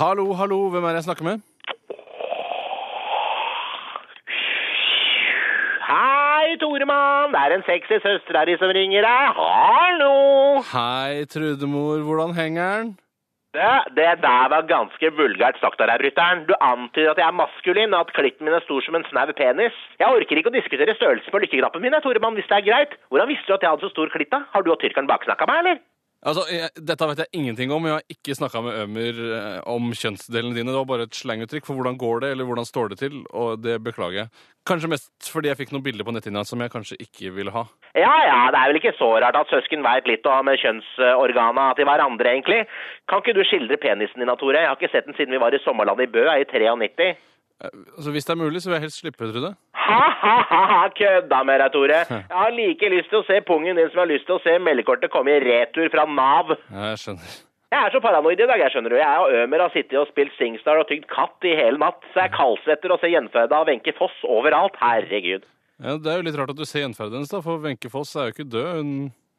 Hallo, hallo, hvem er det jeg snakker med? Hei, Toremann! Det er en sexy søster her som ringer deg. Hallo! Hei, Trudemor, hvordan henger den? Det, det der var ganske vulgært sagt av deg, brytteren. Du antyder at jeg er maskulin, og at klitten min er stor som en snau penis. Jeg orker ikke å diskutere størrelsen på lykkeknappen min, jeg, Toremann, hvis det er greit. Hvordan visste du at jeg hadde så stor klitt, da? Har du og tyrkeren baksnakka meg, eller? Altså, jeg, Dette vet jeg ingenting om. Jeg har ikke snakka med Ømer eh, om kjønnsdelene dine. Det var bare et slanguttrykk for hvordan går det, eller hvordan står det til, og det beklager jeg. Kanskje mest fordi jeg fikk noen bilder på netthinna som jeg kanskje ikke ville ha. Ja, ja, det er vel ikke så rart at søsken veit litt om kjønnsorgana til hverandre, egentlig. Kan ikke du skildre penisen din, da, Tore? Jeg har ikke sett den siden vi var i sommerlandet i Bø i 93. Altså, Hvis det er mulig, så vil jeg helst slippe, Trude. Ha-ha-ha, kødda med deg, Tore. Jeg har like lyst til å se pungen din som jeg har lyst til å se meldekortet komme i retur fra Nav. Ja, jeg skjønner. Jeg er så paranoid i dag, jeg skjønner du. Jeg og Ømer har sittet og spilt Singstar og tygd katt i hele natt, så jeg kaldsvetter og ser gjenfødda av Wenche Foss overalt. Herregud. Ja, det er jo litt rart at du ser gjenferden hennes, da, for Wenche Foss er jo ikke død. Hun,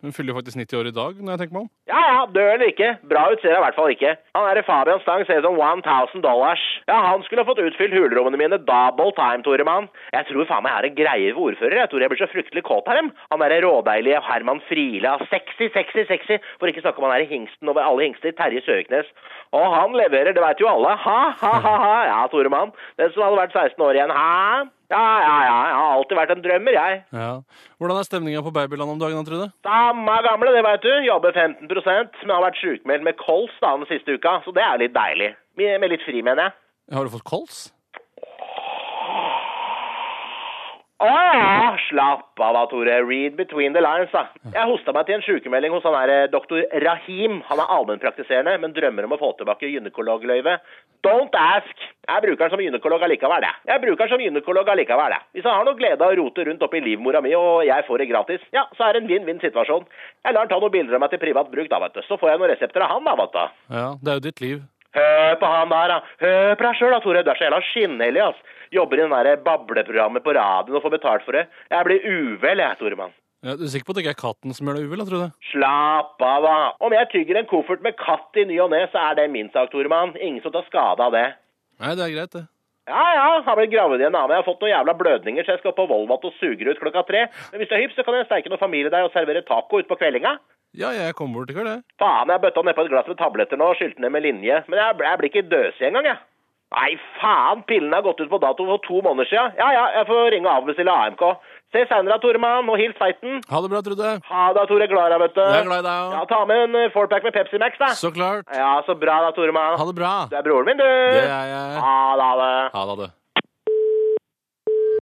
hun fyller jo faktisk 90 år i dag, når jeg tenker meg om. Ja, ja, død eller ikke. Bra ut ser jeg i hvert fall ikke. Han derre Fabian Stang ser ut som 1000 dollars. Ja, han skulle ha fått utfylt hulrommene mine double time, Toremann. Jeg tror faen meg jeg er en greie ved ordfører. Jeg tror jeg blir så fryktelig kåt av dem. Han derre rådeilige Herman Frila. Sexy, sexy, sexy. For ikke snakke om han derre hingsten over alle hingster, Terje Søviknes. Og han leverer, det veit jo alle. Ha, ha, ha, ha. Ja, Toremann. Den som hadde vært 16 år igjen, hæ? Ja, ja, ja. Jeg har alltid vært en drømmer, jeg. Ja. Hvordan er stemninga på babyland om dagen, da, Trude? Samme gamle, det veit du. Jobber 15 men har vært sjukmeldt med kols da den siste uka, så det er litt deilig. Med med litt fri, mener jeg. Har du fått kols? Å ja, Ah, slapp av da, Tore. Read between the lines, da. Jeg hosta meg til en sjukemelding hos han der eh, doktor Rahim. Han er allmennpraktiserende, men drømmer om å få tilbake gynekologløyvet. Don't ask! Jeg bruker den som gynekolog allikevel, jeg. Jeg bruker den som gynekolog allikevel, jeg. Hvis han har noe glede av å rote rundt oppi livmora mi, og jeg får det gratis, ja, så er det en vinn-vinn-situasjon. Jeg lar han ta noen bilder av meg til privat bruk, da, vet du. Så får jeg noen resepter av han, da, vet du. Ja, det er jo ditt liv. Hør på han der, da. Hør på deg sjøl, da, Tore. Du er så jævla skinnhellig, ass. Jobber i den derre bableprogrammet på radioen og får betalt for det. Jeg blir uvel, jeg, Toremann. Ja, du er sikker på at det ikke er katten som gjør deg uvel, da, Trude? Slapp av, da. Om jeg tygger en koffert med katt i ny og ne, så er det min sak, Toremann. Ingen som tar skade av det. Nei, det er greit, det. Ja ja, har blitt gravid igjen, da. Men jeg har fått noen jævla blødninger, så jeg skal opp på Volvat og suger ut klokka tre. Men hvis du er hypp, så kan jeg steike noe familie der og servere taco utpå kveldinga. Ja, jeg kommer bort og gjør det. Faen, jeg bøtta nedpå et glass med tabletter nå og skylte ned med linje. Men jeg, ble- jeg blir ikke døsig engang, jeg. Nei, faen, pillene har gått ut på dato for to måneder siden. Ja ja, jeg får ringe og avbestille AMK. Se seinere, Toremann, og hils feiten. Ha det bra, Trude. Ha det, Tore Glara, vet du. Jeg er glad i deg Ja, òg. ta med en eh, fourpack med Pepsi Max, da. Så klart. Ja, så bra da, Toremann. Ha det bra. Du er broren min, du. Det er jeg. Ha det, ha det. Ha det. ha det.